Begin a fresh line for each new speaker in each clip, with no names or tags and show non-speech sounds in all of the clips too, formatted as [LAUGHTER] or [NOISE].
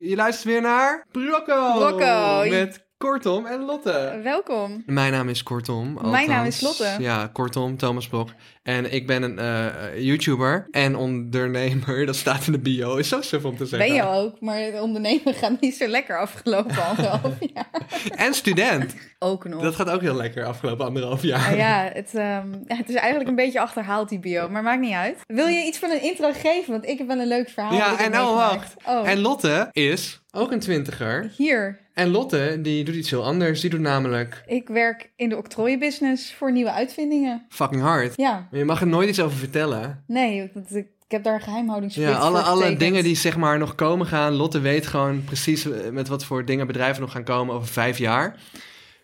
Je luistert weer naar Brocco.
Brocco.
Met Kortom en Lotte.
Welkom.
Mijn naam is Kortom. althans.
naam is Lotte.
Ja, Kortom, Thomas Blok. En ik ben een eh, YouTuber en ondernemer. [LAUGHS] Dat staat in de bio. Is zo suf om te zeggen.
Ben je ook, maar het ondernemen gaat niet zo lekker afgelopen
[LAUGHS]
anderhalf jaar.
En student.
Ook nog.
Dat gaat ook heel lekker afgelopen anderhalf jaar.
Nou ja, het, ehm, ja, het is eigenlijk een beetje achterhaald, die bio, maar maakt niet uit. Wil je iets van een intro geven? Want ik heb wel een leuk verhaal.
Ja,
dat ik heb
en oh,
meegemaakt.
wacht.
Oh,
En Lotte is ook een twintiger.
hier.
En Lotte, die doet iets heel anders. Die doet namelijk
Ik werk in de octrooienbusiness voor nieuwe uitvindingen.
fucking hard.
Ja,
Maar je mag er nooit iets over vertellen.
nee, dat- ik, ik heb daar een geheimhoudingsplicht
Ja, alle,
voor
alle
getekend.
dingen die zeg maar nog komen gaan. Lotte weet gewoon precies eh, met wat voor dingen bedrijven nog gaan komen over vijf jaar.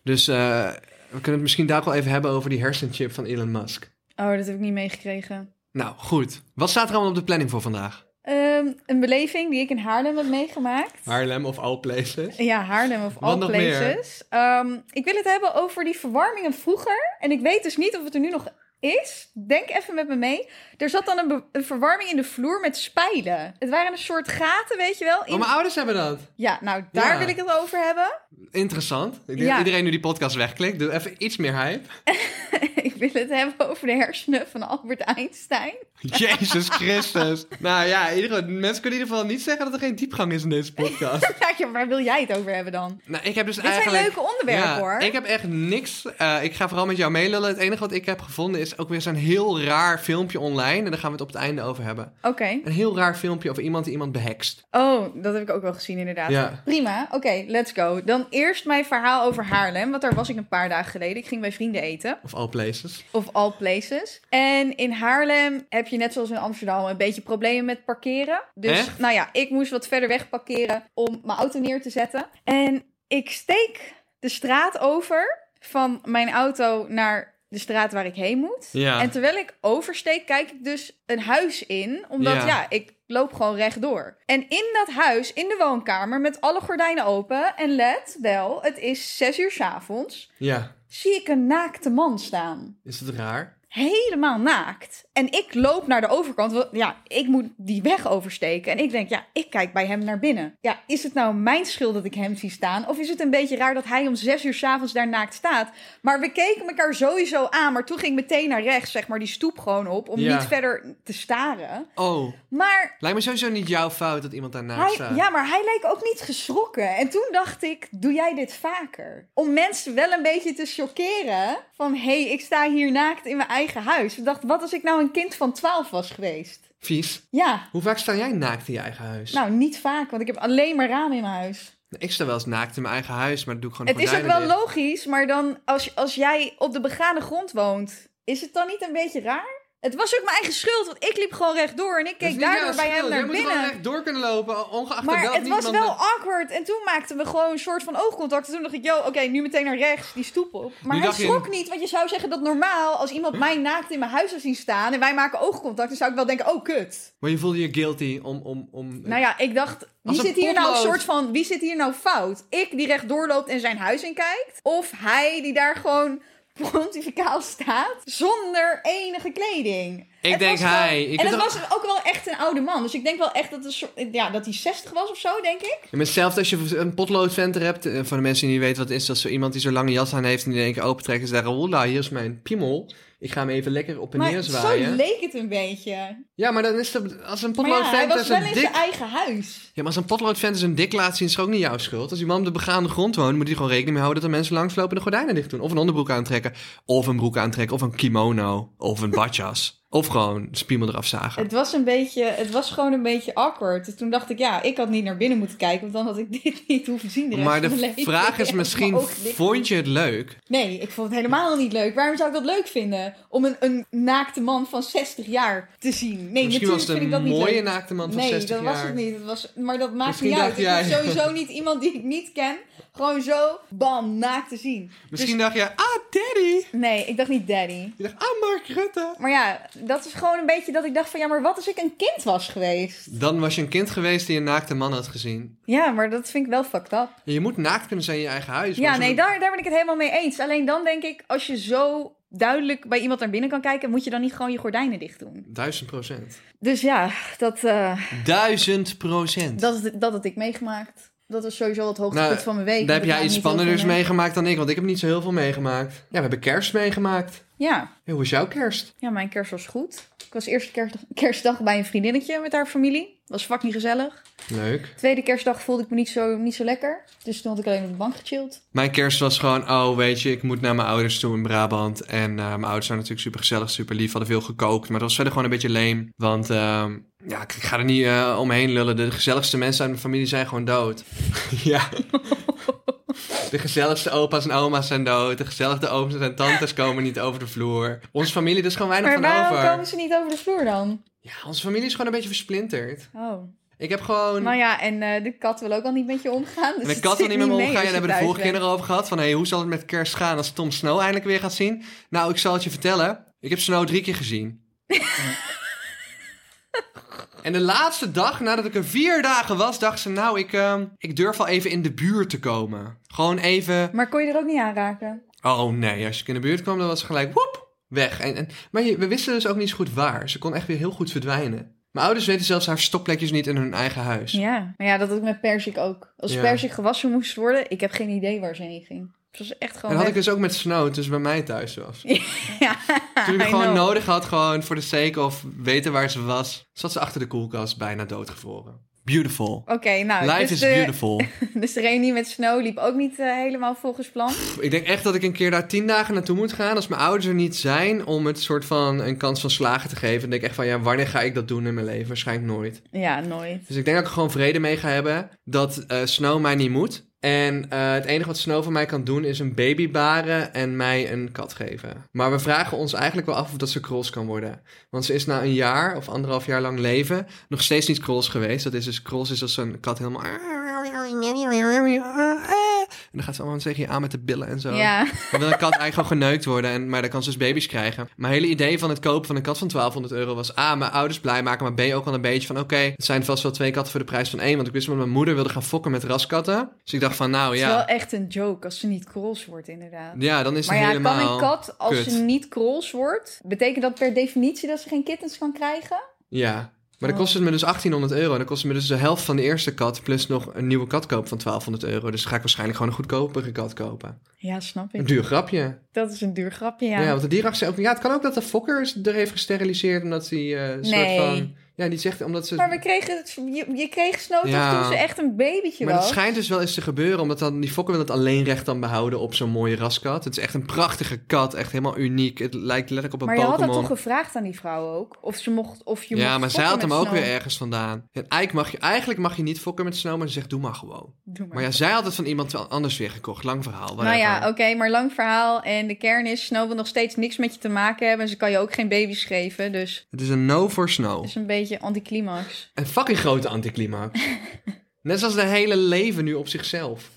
Dus eh, we kunnen het misschien daar ook wel even hebben over die hersenchip van Elon Musk.
Oh, dat heb ik niet meegekregen.
Nou, goed. Wat staat er allemaal op de planning voor vandaag?
Ehm, een beleving die ik in Haarlem heb meegemaakt.
Haarlem of all places?
Ja, Haarlem of
Wat
all
nog
places. Ehm, ik wil het hebben over die verwarmingen vroeger. En ik weet dus niet of het er nu nog is. Denk even met me mee. Er zat dan een, be- een verwarming in de vloer met spijlen. Het waren een soort gaten, weet je wel. in-
Oh, mijn ouders hebben dat.
Ja, nou, daar
Ja.
wil ik het over hebben. [LAUGHS]
Interessant. Ik denk
Ja.
dat iedereen nu die podcast wegklikt. Doe even iets meer hype.
ik wil het hebben over de hersenen van Albert Einstein.
[LAUGHS]
[LAUGHS]
Jezus Christus. nou ja, in ieder geval, mensen kunnen in ieder geval niet zeggen dat er geen diepgang is in deze
[LAUGHS]
podcast.
Ja, ja, waar wil jij het over hebben dan?
nou, ik heb dus
Dit zijn
eigenlijk...
leuke onderwerpen,
Ja,
hoor.
Ik heb echt niks. eh, ik ga vooral met jou meelullen. Het enige wat ik heb gevonden is ook weer zo'n heel raar filmpje online. En daar gaan we het op het einde over hebben.
Oké.
Een heel raar filmpje over iemand die iemand behext.
Oh, dat heb ik ook wel gezien inderdaad.
Ja.
Prima, oké, let's go. Dan eerst mijn verhaal over Haarlem, want daar was ik een paar dagen geleden. Ik ging bij vrienden eten,
Of all places.
of all places. En in Haarlem heb je net zoals in Amsterdam een beetje problemen met parkeren. Dus
Echt?
nou ja, ik moest wat verder weg parkeren om mijn auto neer te zetten. En ik steek de straat over van mijn auto naar de straat waar ik heen moet.
Ja.
En terwijl ik oversteek, kijk ik dus een huis in. Omdat
Ja.
ja. ik loop gewoon rechtdoor. En in dat huis, in de woonkamer, met alle gordijnen open. En let wel, het is zes uur 's avonds.
Ja.
Zie ik een naakte man staan.
Is het raar?
Helemaal naakt. En ik loop naar de overkant. Want ja, ik moet die weg oversteken. En ik denk, ja, ik kijk bij hem naar binnen. Ja, is het nou mijn schuld dat ik hem zie staan? Of is het een beetje raar dat hij om zes uur s'avonds daar naakt staat? Maar we keken elkaar sowieso aan. Maar toen ging ik meteen naar rechts, zeg maar, die stoep gewoon op. Om
Ja.
niet verder te staren.
Oh,
Maar
lijkt me sowieso niet jouw fout dat iemand daarnaast
hij,
staat.
ja, maar hij leek ook niet geschrokken. En toen dacht ik, doe jij dit vaker? Om mensen wel een beetje te chockeren. Van, hé, hey, ik sta hier naakt in mijn eigen huis. Ik dacht, wat als ik nou een kind van 12 was geweest?
Vies.
Ja,
Hoe vaak sta jij naakt in je eigen huis?
nou, niet vaak, want ik heb alleen maar ramen in mijn huis.
Ik sta wel eens naakt in mijn eigen huis, maar dat doe ik gewoon
Het is ook
gordijnen
wel
dicht.
logisch, maar dan als, als jij op de begane grond woont, is het dan niet een beetje raar? Het was ook mijn eigen schuld, want ik liep gewoon rechtdoor en ik
Dat is
keek
niet
daardoor
jouw
bij hem
schuld.
naar
Jij moet gewoon
binnen.
recht door kunnen lopen, ongeacht
Maar
of wel of
het
niet
was
iemand
wel awkward. En toen maakten we gewoon een soort van oogcontact. En toen dacht ik, yo, oké, nu meteen naar rechts, die stoep op. Maar
Nu
hij
dacht je-
schrok niet, want je zou zeggen dat normaal... als iemand mij naakt in mijn huis zou zien staan... en wij maken oogcontact, dan zou ik wel denken, oh, kut.
Maar je voelde je guilty om... om, om...
Nou ja, ik dacht,
Als
wie
een
zit hier nou een
potlood.
soort van... wie zit hier nou fout? Ik die rechtdoor loopt en zijn huis in kijkt? Of hij die daar gewoon pontificaal staat... zonder enige kleding?
Ik
Het
denk
was wel-
hij. Je
en
kunt
het
toch-
was ook wel echt een oude man. Dus ik denk wel echt dat, het een soort- ja, dat hij 60 was of zo, denk ik.
Ja, maar zelfs als je een potloodventer hebt, eh, voor de mensen die niet weten wat het is, dat zo iemand die zo'n lange jas aan heeft en die in één keer opentrekt en zegt, hola, hier is mijn piemel. Ik ga hem even lekker op en neer zwaaien.
zo leek het een beetje.
ja, maar dan is dat, als een
Maar ja, hij
potloodventer
was wel
zijn
in
dik...
zijn eigen huis.
Ja, maar als een potloodventer zijn dik laat zien, is het ook niet jouw schuld. Als die man op de begaande grond woont, moet hij gewoon rekening mee houden dat er mensen langslopen en de gordijnen dicht doen. Of een onderbroek aantrekken, of een broek aantrekken, of een kimono, of een badjas. [LAUGHS] of gewoon de spiemel eraf zagen.
Het was, een beetje, het was gewoon een beetje awkward. Dus toen dacht ik, ja, ik had niet naar binnen moeten kijken, want dan had ik [LAUGHS] dit niet hoeven zien. De rest
Maar
van mijn
de
leven.
vraag is
Ja,
misschien,
[LAUGHS] maar ook dit-
vond je het leuk?
Nee, ik vond het helemaal niet leuk. Waarom zou ik dat leuk vinden? Om een, een naakte man van 60 jaar te zien. Nee,
Misschien was het
natuurlijk vind ik
een
dat niet
mooie
leuk.
naakte man van
nee,
60
dat
jaar.
was het niet. Het was, maar dat maakt
Misschien
niet uit.
dacht jij-
Ik vind sowieso niet iemand die ik niet ken, gewoon zo, bam, naakt te zien.
Misschien dacht je, ah, daddy.
Dus nee, ik dacht niet daddy.
Je dacht, ah, Mark Rutte.
Maar ja, dat is gewoon een beetje dat ik dacht van... ja, maar wat als ik een kind was geweest?
Dan was je een kind geweest die een naakte man had gezien.
Ja, maar dat vind ik wel fucked up.
En je moet naakt kunnen zijn in je eigen huis.
Ja,
maar zo-
nee, daar, daar ben ik het helemaal mee eens. Alleen dan denk ik, als je zo duidelijk bij iemand naar binnen kan kijken, moet je dan niet gewoon je gordijnen dicht doen.
Duizend procent.
Dus ja, dat, eh,
Duizend procent.
dat, is- dat had ik meegemaakt. Dat was sowieso het hoogtepunt
Nou,
van mijn week.
Daar heb
Ik
jij
maak
iets
niet heel veel
spannenders
mee.
meegemaakt dan ik, want ik heb niet zo heel veel meegemaakt. Ja, we hebben kerst meegemaakt.
Ja.
Hey, hoe is jouw kerst?
Ja, mijn kerst was goed. Ik was eerste kerst- kerstdag bij een vriendinnetje met haar familie. Was fucking gezellig.
Leuk.
Tweede kerstdag voelde ik me niet zo, niet zo lekker. Dus toen had ik alleen op de bank gechilled.
Mijn kerst was gewoon, oh weet je, ik moet naar mijn ouders toe in Brabant. En eh, mijn ouders zijn natuurlijk super gezellig, super lief, hadden veel gekookt. Maar het was verder gewoon een beetje leem. Want ehm, ja, ik, ik ga er niet eh, omheen lullen. De gezelligste mensen uit mijn familie zijn gewoon dood. [LAUGHS] ja. De gezelligste opa's en oma's zijn dood. De gezelligste ooms en tantes komen niet over de vloer. Onze familie, er is gewoon weinig
Maar
van
waarom
over.
komen ze niet over de vloer dan?
Ja, onze familie is gewoon een beetje versplinterd.
Oh.
Ik heb gewoon...
Nou ja, en eh, de kat wil ook al niet met je omgaan. Dus
En de
het
kat wil
zit
niet met me omgaan.
mee als
Daar
je
hebben we de
thuis
vorige keer
bent.
nog over gehad. Van, hey, hoe zal het met kerst gaan als Tom Snow eindelijk weer gaat zien? Nou, ik zal het je vertellen. Ik heb Snow drie keer
[LAUGHS]
gezien. en de laatste dag, nadat ik er vier dagen was, dacht ze... Nou, ik, ehm, ik durf al even in de buurt te komen. Gewoon even...
Maar kon je er ook niet aanraken?
Oh nee, als ik in de buurt kwam, dan was ze gelijk... Woep, weg. En, en, maar je- we wisten dus ook niet zo goed waar. Ze kon echt weer heel goed verdwijnen. Mijn ouders weten zelfs haar stopplekjes niet in hun eigen huis.
Ja. Maar ja, dat had ik met Persik ook. Als
Ja.
Persik gewassen moest worden, ik heb geen idee waar ze heen ging. Ze was echt
En
gewoon
dat had ik
weg.
dus ook met Snow, dus bij mij thuis was.
[LAUGHS] Ja,
Toen ik
I
het gewoon
know.
nodig had, gewoon voor de sake of weten waar ze was, zat ze achter de koelkast bijna doodgevroren. Beautiful.
Oké, nou.
Life
dus
is
de-
beautiful.
[LAUGHS] Dus de reunie met Snow liep ook niet eh, helemaal volgens plan.
Pff, ik denk echt dat ik een keer daar tien dagen naartoe moet gaan als mijn ouders er niet zijn om het soort van een kans van slagen te geven. Dan denk ik echt van ja, wanneer ga ik dat doen in mijn leven? Waarschijnlijk nooit.
Ja, nooit.
Dus ik denk dat ik er gewoon vrede mee ga hebben dat eh, Snow mij niet moet. En eh, het enige wat Snow van mij kan doen is een baby baren en mij een kat geven. Maar we vragen ons eigenlijk wel af of dat ze cross kan worden. Want ze is na een jaar of anderhalf jaar lang leven nog steeds niet cross geweest. Dat is dus cross is als een kat helemaal... En dan gaat ze allemaal tegen je aan met de billen en zo. Oh,
Ja,
Dan wil een kat eigenlijk gewoon geneukt worden, en, maar dan kan ze dus baby's krijgen. Mijn hele idee van het kopen van een kat van 1200 euro was A, mijn ouders blij maken, maar B, ook wel een beetje van oké, het zijn vast wel twee katten voor de prijs van één. Want ik wist dat mijn moeder wilde gaan fokken met raskatten. Dus ik dacht van nou
het is wel
ja,
echt een joke als ze niet cross wordt, inderdaad.
ja dan is het
maar ja,
helemaal...
kan een kat, als
kut.
ze niet cross wordt, betekent dat per definitie dat ze geen kittens kan krijgen?
Ja. Maar dan
Oh.
kost het me dus 1800 euro. En dan kost het me dus de helft van de eerste kat. Plus nog een nieuwe kat kopen van 1200 euro. Dus ga ik waarschijnlijk gewoon een goedkopere kat kopen.
Ja, snap
Een
ik.
duur grapje.
Dat is een duur grapje, ja.
Ja, want de dierenarts zei ook... Ja, het kan ook dat de fokker er heeft gesteriliseerd. Omdat hij eh, een
Nee.
soort van... Ja, die zegt omdat ze...
Maar we kregen, het- je, je kreeg Snow toch
Ja.
toen ze echt een babytje
Maar dat
was?
schijnt dus wel eens te gebeuren, omdat dan die fokken wil het alleenrecht dan behouden op zo'n mooie raskat. Het is echt een prachtige kat, echt helemaal uniek. Het lijkt letterlijk op
maar
een
je had dat
Pokémon.
toch gevraagd aan die vrouw ook? Of, ze mocht, of je
ja,
mocht
maar zij had
fokken
hem
met
ook
Snow?
weer ergens vandaan. En eigenlijk mag, je, eigenlijk mag je niet fokken met Snow, maar ze zegt doe maar gewoon.
Doe maar.
Maar ja, zij had het van iemand anders weer gekocht. Lang verhaal.
Nou ja, oké,
whatever.
maar lang verhaal. En de kern is, Snow wil nog steeds niks met je te maken hebben. En ze kan je ook geen baby's geven. Dus
Het is een no voor Snow.
Het is een beetje anticlimax.
Een fucking grote
[LAUGHS]
anticlimax. Net zoals de hele leven nu op zichzelf.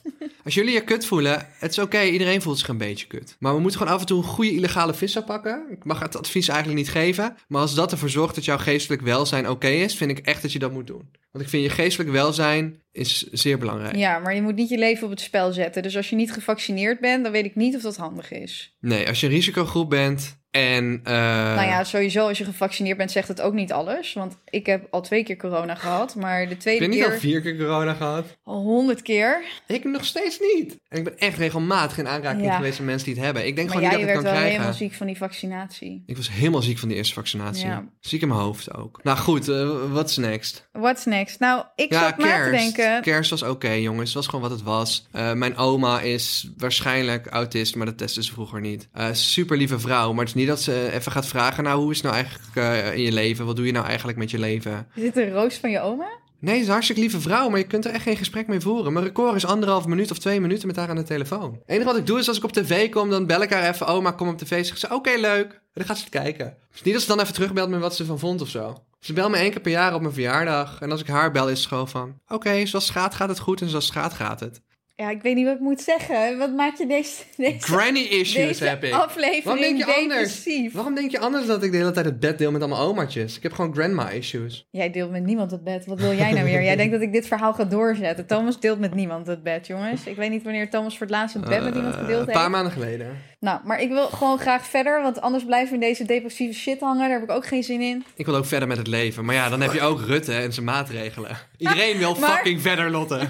Als jullie je kut voelen, het is oké, iedereen voelt zich een beetje kut. Maar we moeten gewoon af en toe een goede illegale visser pakken. Ik mag het advies eigenlijk niet geven. Maar als dat ervoor zorgt dat jouw geestelijk welzijn oké is, vind ik echt dat je dat moet doen. Want ik vind je geestelijk welzijn is zeer belangrijk.
Ja, maar je moet niet je leven op het spel zetten. Dus als je niet gevaccineerd bent, dan weet ik niet of dat handig is.
Nee, als je een risicogroep bent en... eh,
Nou ja, sowieso als je gevaccineerd bent, zegt het ook niet alles. Want ik heb al twee keer corona gehad, maar de
ik
tweede
ben niet al
keer
vier keer corona gehad.
al honderd keer.
Ik nog steeds niet. En ik ben echt regelmatig in aanraking
Ja.
geweest met mensen die het hebben. Ik denk
Maar
gewoon
jij
niet dat ik
werd
het
wel
kan krijgen.
helemaal ziek van die vaccinatie.
Ik was helemaal ziek van die eerste vaccinatie.
Ja.
Ziek in mijn hoofd ook. Nou goed, eh, what's next?
What's next? Nou, ik
ja,
zat na te
kerst.
denken.
Kerst was oké, jongens. Het was gewoon wat het was. Eh, mijn oma is waarschijnlijk autist, maar dat testen ze vroeger niet. Eh super lieve vrouw, maar het is niet dat ze even gaat vragen... nou, hoe is het nou eigenlijk eh, in je leven? Wat doe je nou eigenlijk met je leven?
Is dit een roos van je oma?
Nee, ze is een hartstikke lieve vrouw, maar je kunt er echt geen gesprek mee voeren. Mijn record is anderhalf minuut of twee minuten met haar aan de telefoon. Het enige wat ik doe is als ik op tv kom, dan bel ik haar even... oma, kom op tv. Zegt ze, oké, leuk. En dan gaat ze het kijken. Dus niet dat ze dan even terugbelt met wat ze ervan vond of zo. Ze belt me één keer per jaar op mijn verjaardag. En als ik haar bel, is het gewoon van... oké, zoals het gaat, gaat het goed en zoals het gaat, gaat het.
Ja, ik weet niet wat ik moet zeggen. Wat maakt je deze, deze,
Granny issues
deze
heb ik. Waarom denk
aflevering
je anders?
depressief?
Waarom denk je anders dat ik de hele tijd het bed deel met allemaal omaatjes? Ik heb gewoon grandma issues.
Jij deelt met niemand het bed. Wat wil jij nou weer? Jij denkt dat ik dit verhaal ga doorzetten. Thomas deelt met niemand het bed, jongens. Ik weet niet wanneer Thomas voor het laatst het bed met iemand
Eh,
gedeeld
Een
heeft.
paar maanden geleden.
Nou, maar ik wil gewoon graag verder, want anders blijven we in deze depressieve shit hangen. Daar heb ik ook geen zin in.
Ik wil ook verder met het leven. Maar ja, dan heb je ook Rutte en zijn maatregelen. Iedereen wil
[LAUGHS] Maar-
fucking verder, Lotte.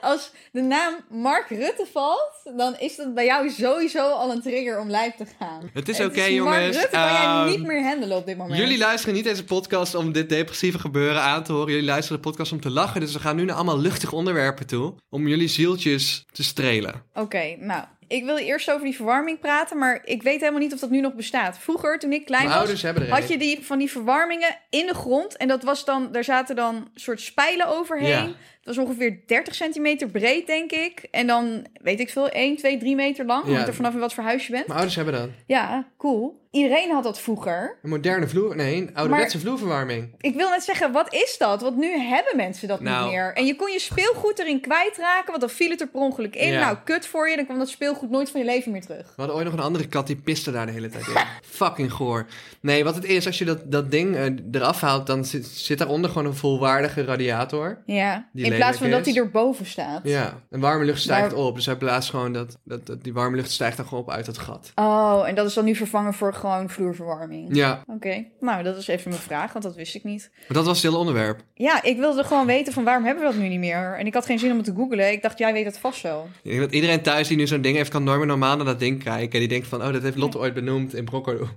Als de naam Mark Rutte valt, dan is dat bij jou sowieso al een trigger om lijf te gaan.
Het is oké,
Mark
jongens.
Rutte kan jij
Ehm,
niet meer handelen op dit moment.
Jullie luisteren niet deze podcast om dit depressieve gebeuren aan te horen. Jullie luisteren de podcast om te lachen. Dus we gaan nu naar allemaal luchtige onderwerpen toe. Om jullie zieltjes te strelen.
Oké, nou. Ik wil eerst over die verwarming praten, maar ik weet helemaal niet of dat nu nog bestaat. Vroeger, toen ik klein
Mijn
was,
ouders hebben er
had
een.
je die, van die verwarmingen in de grond. En dat was dan, daar zaten dan soort spijlen overheen.
Ja.
Het was ongeveer 30 centimeter breed, denk ik. En dan, weet ik veel, 1, 2, 3 meter lang.
Ja.
Hangt er vanaf in wat voor huis je bent.
Mijn ouders hebben dat.
Ja, cool. Iedereen had dat vroeger.
Een moderne vloer... Nee, een ouderwetse vloerverwarming.
Ik wil net zeggen, wat is dat? Want nu hebben mensen dat
Nou.
niet meer. En je kon je speelgoed erin kwijtraken, want dan viel het er per ongeluk in.
Ja.
Nou, kut voor je. Dan kwam dat speelgoed nooit van je leven meer terug.
We hadden ooit nog een andere kat die piste daar de hele tijd
[LAUGHS]
in. Fucking goor. Nee, wat het is, als je dat, dat ding eh, eraf haalt... dan zit, zit daaronder gewoon een volwaardige radiator.
Ja,
Die
in plaats van
lelijk
dat
is.
hij erboven staat.
Ja, en warme lucht stijgt
Maar-
op. Dus hij blaast gewoon dat, dat, dat... Die warme lucht stijgt dan gewoon op uit dat gat.
Oh, en dat is dan nu vervangen voor gewoon vloerverwarming.
Ja,
Oké, nou dat is even mijn vraag, want dat wist ik niet.
maar dat was het hele onderwerp.
Ja, ik wilde gewoon weten van waarom hebben we dat nu niet meer? En ik had geen zin om het te googlen. Ik dacht, jij weet dat vast zo.
Ik denk dat iedereen thuis die nu zo'n ding heeft, kan normaal normaal naar dat ding kijken. En die denkt van, oh, dat heeft Lotte ooit benoemd in [LAUGHS] Broccolo.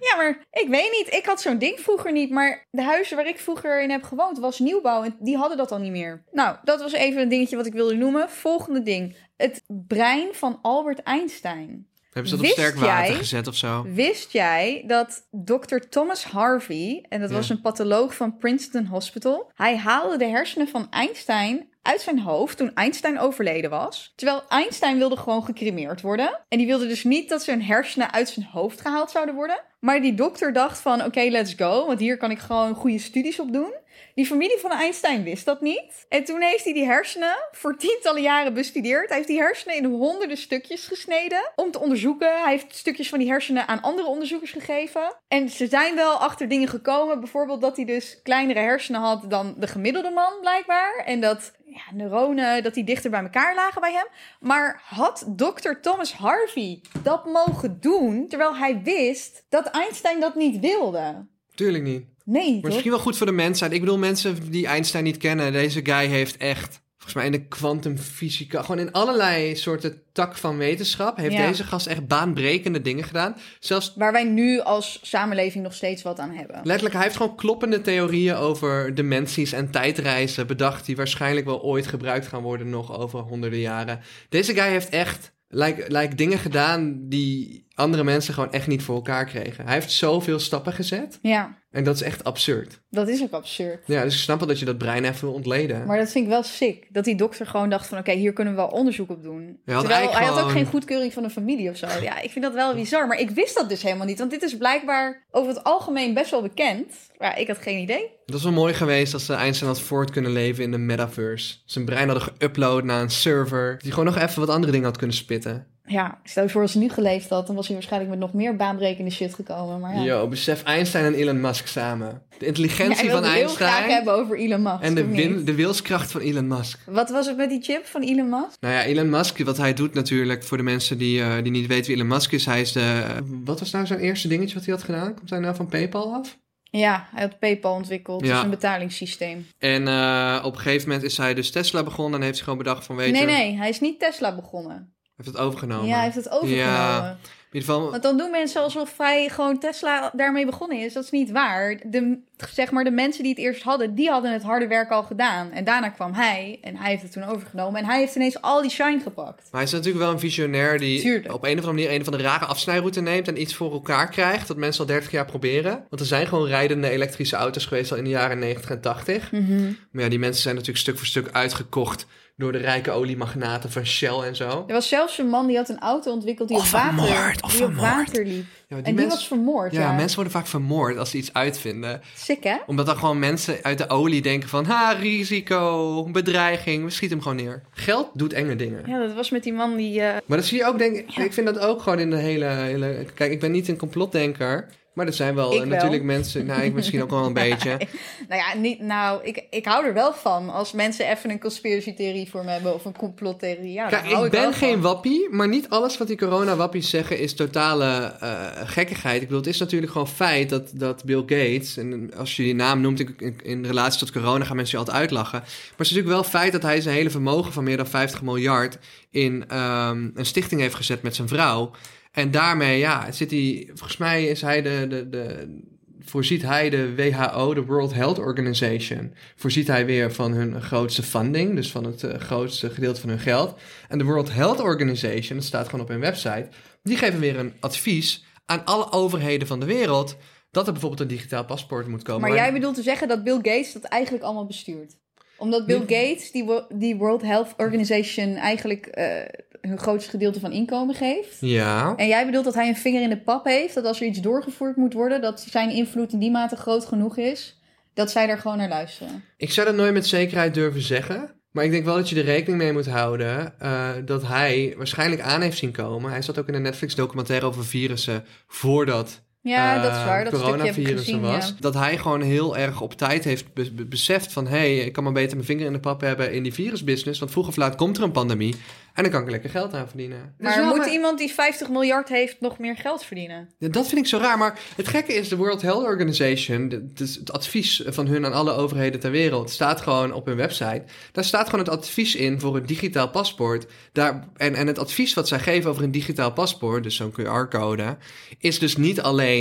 Ja, maar ik weet niet. Ik had zo'n ding vroeger niet. Maar de huizen waar ik vroeger in heb gewoond was nieuwbouw. En die hadden dat al niet meer. Nou, dat was even een dingetje wat ik wilde noemen. Volgende ding. Het brein van Albert Einstein.
Hebben ze dat op
Wist
sterk water
jij-
gezet of zo?
Wist jij dat Dr. Thomas Harvey, en dat
Ja.
was een patholoog van Princeton Hospital, hij haalde de hersenen van Einstein uit zijn hoofd toen Einstein overleden was. Terwijl Einstein wilde gewoon gecremeerd worden. En die wilde dus niet dat zijn hersenen uit zijn hoofd gehaald zouden worden. Maar die dokter dacht van, oké, let's go, want hier kan ik gewoon goede studies op doen. Die familie van Einstein wist dat niet. En toen heeft hij die hersenen voor tientallen jaren bestudeerd. Hij heeft die hersenen in honderden stukjes gesneden om te onderzoeken. Hij heeft stukjes van die hersenen aan andere onderzoekers gegeven. En ze zijn wel achter dingen gekomen. Bijvoorbeeld dat hij dus kleinere hersenen had dan de gemiddelde man blijkbaar. En dat ja, neuronen, dat die dichter bij elkaar lagen bij hem. Maar had dokter Thomas Harvey dat mogen doen terwijl hij wist dat Einstein dat niet wilde?
Tuurlijk niet.
Nee,
Maar
toch?
misschien wel goed voor de mensheid. Ik bedoel, mensen die Einstein niet kennen, deze guy heeft echt, volgens mij in de kwantumfysica, gewoon in allerlei soorten tak van wetenschap, heeft
Ja.
deze gast echt baanbrekende dingen gedaan. Zelfs
waar wij nu als samenleving nog steeds wat aan hebben.
letterlijk, hij heeft gewoon kloppende theorieën over dimensies en tijdreizen bedacht, die waarschijnlijk wel ooit gebruikt gaan worden nog over honderden jaren. Deze guy heeft echt like, like, dingen gedaan die andere mensen gewoon echt niet voor elkaar kregen. Hij heeft zoveel stappen gezet
Ja,
en dat is echt absurd.
dat is ook absurd.
Ja, dus ik snap wel dat je dat brein even wil ontleden.
Maar dat vind ik wel sick. Dat die dokter gewoon dacht van... oké, hier kunnen we wel onderzoek op
Ja,
doen.
want
Terwijl
eigenlijk
hij had ook
gewoon-
geen goedkeuring van de familie of zo. Ja, ik vind dat wel bizar. Maar ik wist dat dus helemaal niet. Want dit is blijkbaar over het algemeen best wel bekend. Maar ik had geen idee.
Dat was wel mooi geweest als ze Einstein had voort kunnen leven in de metaverse. Zijn brein hadden geüpload naar een server. Die gewoon nog even wat andere dingen had kunnen spitten.
Ja, stel je voor als hij nu geleefd had... dan was hij waarschijnlijk met nog meer baanbrekende shit gekomen. Maar Oh ja,
Yo, besef Einstein en Elon Musk samen. De
Ja,
intelligentie
hij
van
wilde het heel graag
Einstein
hebben over Elon Musk.
en de,
of
win-
niet?
de wilskracht van Elon Musk.
Wat was het met die chip van Elon Musk?
Nou ja, Elon Musk, wat hij doet natuurlijk voor de mensen die, eh, die niet weten wie Elon Musk is. Hij is de... Wat was nou zijn eerste dingetje wat hij had gedaan? Komt hij nou van Paypal af?
Ja, hij had PayPal ontwikkeld.
Ja.
Dus een betalingssysteem.
En eh, op een gegeven moment is hij dus Tesla begonnen en heeft hij gewoon bedacht van weet
Nee,
je...
nee, hij is niet Tesla begonnen.
Heeft het overgenomen.
Ja, hij heeft het overgenomen.
Oh, Ja. In ieder geval...
Want dan doen mensen alsof hij gewoon Tesla daarmee begonnen is. Dat is niet waar. De, zeg maar, de mensen die het eerst hadden, die hadden het harde werk al gedaan. En daarna kwam hij en hij heeft het toen overgenomen. En hij heeft ineens al die shine gepakt.
Maar hij is natuurlijk wel een visionair die
Tuurlijk.
op een of andere manier een van de rare afsnijroute neemt en iets voor elkaar krijgt dat mensen al 30 jaar proberen. Want er zijn gewoon rijdende
Mhm.
elektrische auto's geweest al in de jaren 90 en 80. Maar ja, die mensen zijn natuurlijk stuk voor stuk uitgekocht door de rijke oliemagnaten van Shell en zo.
Er was zelfs een man die had een auto ontwikkeld die
Of
op water,
vermoord, of
die op
vermoord.
water liep.
Ja,
en die was vermoord. Ja,
ja, mensen worden vaak vermoord als ze iets uitvinden.
Sick, hè?
Omdat dan gewoon mensen uit de olie denken van... Ha, risico, bedreiging, we schieten hem gewoon neer. Geld doet enge dingen.
Ja, dat was met die man die... eh,
Maar dat zie je ook, denk ik. Ik vind dat ook gewoon in de hele, hele. Kijk, ik ben niet een complotdenker. Maar er zijn wel
Ik
eh,
wel.
natuurlijk mensen. Nou, ik misschien ook wel een beetje.
nou ja, niet, nou, ik, ik hou er wel van als mensen even een conspiracy theorie voor me hebben of een complottheorie. Ja, daar
Kijk,
hou
ik
wel
ben
van.
geen wappie. Maar niet alles wat die corona-wappies zeggen is totale eh, gekkigheid. Ik bedoel, het is natuurlijk gewoon feit dat, dat Bill Gates. En als je die naam noemt in, in, in relatie tot corona, gaan mensen je altijd uitlachen. Maar het is natuurlijk wel feit dat hij zijn hele vermogen van meer dan 50 miljard. in ehm, een stichting heeft gezet met zijn vrouw. En daarmee, ja, zit hij. Volgens mij is hij de, de, de. Voorziet hij de WHO, de World Health Organization. Voorziet hij weer van hun grootste funding. Dus van het eh, grootste gedeelte van hun geld. En de World Health Organization, dat staat gewoon op hun website. Die geven weer een advies aan alle overheden van de wereld. Dat er bijvoorbeeld een digitaal paspoort moet komen.
Maar jij bedoelt te zeggen dat Bill Gates dat eigenlijk allemaal bestuurt? Omdat Bill Gates die, wo- die World Health Organization eigenlijk eh, hun grootste gedeelte van inkomen geeft?
Ja.
En jij bedoelt dat hij een vinger in de pap heeft, dat als er iets doorgevoerd moet worden, dat zijn invloed in die mate groot genoeg is, dat zij daar gewoon naar luisteren.
Ik zou dat nooit met zekerheid durven zeggen. Maar ik denk wel dat je er rekening mee moet houden eh, dat hij waarschijnlijk aan heeft zien komen. Hij zat ook in een Netflix-documentaire over virussen voordat
Ja,
eh,
dat is waar. Dat stukje heb ik
coronavirus er
gezien.
was.
ja.
Dat hij gewoon heel erg op tijd heeft be- be- beseft van... hé, hey, ik kan maar beter mijn vinger in de pap hebben in die virusbusiness... want vroeg of laat komt er een pandemie en dan kan ik lekker geld aan verdienen.
Maar moet iemand die 50 miljard heeft nog meer geld verdienen?
Ja, Dat vind ik zo raar, maar het gekke is... de World Health Organization, de- het is het advies van hun aan alle overheden ter wereld... staat gewoon op hun website. Daar staat gewoon het advies in voor een digitaal paspoort. Daar, en, en het advies wat zij geven over een digitaal paspoort... dus zo'n QR-code, is dus niet alleen...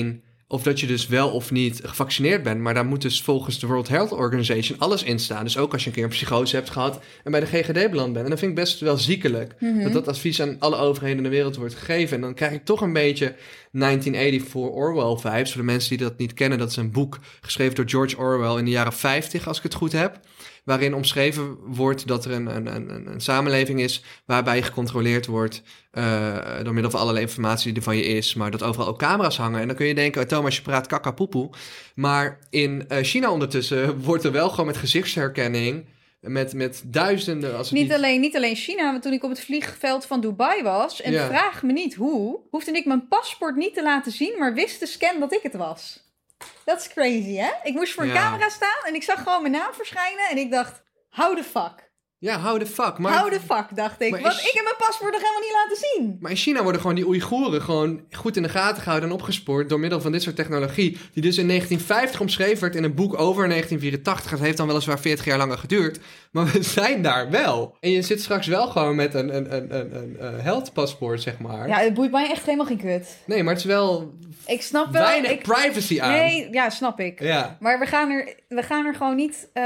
Of dat je dus wel of niet gevaccineerd bent. Maar daar moet dus volgens de World Health Organization alles in staan. Dus ook als je een keer een psychose hebt gehad en bij de GGD beland bent. En dat vind ik best wel ziekelijk. Dat dat advies aan alle overheden in de wereld wordt gegeven. En dan krijg ik toch een beetje 1984 Orwell vibes. Voor de mensen die dat niet kennen, dat is een boek geschreven door George Orwell in de jaren 50, als ik het goed heb. Waarin omschreven wordt dat er een, een, een, een- een samenleving is waarbij je gecontroleerd wordt eh, door middel van allerlei informatie die er van je is, maar dat overal ook camera's hangen. En dan kun je denken, oh, Thomas, je praat kakapoepoe. Maar in eh, China ondertussen [LAUGHS] wordt er wel gewoon met gezichtsherkenning, met, met duizenden... Als het
Niet alleen, niet alleen China, want toen ik op het vliegveld van Dubai was, en
Ja.
vraag me niet hoe, hoefde ik mijn paspoort niet te laten zien, maar wist de scan dat ik het was. Dat is crazy, hè? Ik moest voor een
Ja.
camera staan en ik zag gewoon mijn naam verschijnen en ik dacht, how the fuck?
Ja, hou de fuck. Maar,
How the fuck, dacht ik.
maar
Want
is-
ik heb mijn paspoort nog helemaal niet laten zien.
maar in China worden gewoon die Oeigoeren gewoon goed in de gaten gehouden en opgespoord door middel van dit soort technologie. Die dus in 1950 omschreven werd in een boek over 1984. Het heeft dan weliswaar 40 jaar langer geduurd. Maar we zijn daar wel. En je zit straks wel gewoon met een, een, een, een, een, eh, heldpaspoort, zeg maar.
Ja, het boeit mij echt helemaal geen kut.
Nee, maar het is wel
Ik snap wel...
weinig
ik...
privacy aan.
Nee, ja, snap ik.
Ja.
Maar we gaan er, we gaan er gewoon niet, eh,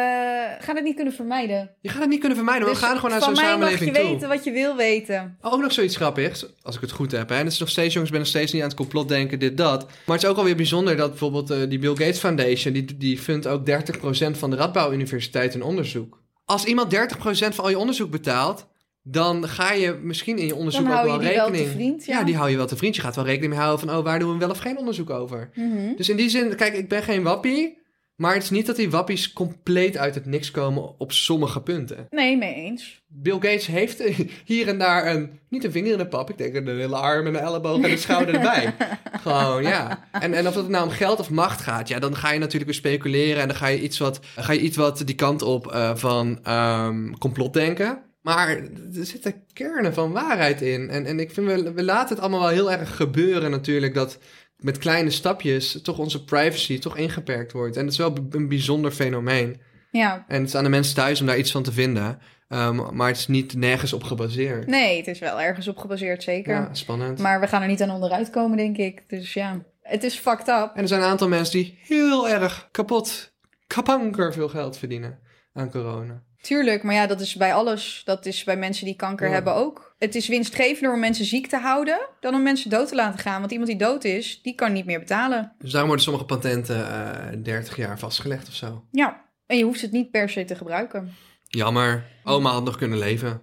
gaan het niet kunnen vermijden.
Je gaat het niet kunnen vermijden.
Dus
we gaan gewoon naar
van
zo'n
mij
samenleving
mag je
toe.
weten wat je wil weten.
Oh, Ook nog zoiets grappigs, als ik het goed heb. Hè? En het is nog steeds, jongens, ik ben nog steeds niet aan het complot denken, dit, dat. Maar het is ook alweer bijzonder dat bijvoorbeeld eh, die Bill Gates Foundation... die, die fundt ook 30% van de Radbouw Universiteit in onderzoek. Als iemand 30% van al je onderzoek betaalt... dan ga je misschien in je onderzoek
Dan
ook
hou
wel
je die wel
rekening...
te vriend, ja.
die hou je wel te vriend. Je gaat wel rekening mee houden van... oh, waar doen we wel of geen onderzoek over?
Mhm.
Dus in die zin, kijk, ik ben geen wappie... maar het is niet dat die wappies compleet uit het niks komen op sommige punten.
Nee, mee eens.
Bill Gates heeft [LAUGHS] hier en daar een, niet een vinger in de pap, ik denk een hele arm en een elleboog en een schouder erbij. Gewoon, ja. En, en of het nou om geld of macht gaat, ja, dan ga je natuurlijk weer speculeren en dan ga je iets wat, ga je iets wat die kant op eh, van ehm, complot denken. Maar er zitten kernen van waarheid in. En, en ik vind, we, we laten het allemaal wel heel erg gebeuren natuurlijk, dat met kleine stapjes toch onze privacy toch ingeperkt wordt. En dat is wel b- een bijzonder fenomeen.
Ja.
En het is aan de mensen thuis om daar iets van te vinden. Ehm, maar het is niet nergens op gebaseerd.
Nee, het is wel ergens op gebaseerd, zeker.
Ja, spannend.
Maar we gaan er niet aan onderuit komen, denk ik. Dus ja, het is fucked up.
En er zijn een aantal mensen die heel erg kapot, kapanker veel geld verdienen aan corona.
Tuurlijk, maar ja, dat is bij alles. Dat is bij mensen die kanker
Ja.
hebben ook. Het is winstgevender om mensen ziek te houden dan om mensen dood te laten gaan. Want iemand die dood is, die kan niet meer betalen.
Dus daarom worden sommige patenten eh 30 jaar vastgelegd of zo.
Ja, en je hoeft het niet per se te gebruiken.
Jammer. Oma had nog kunnen
[LAUGHS]
leven.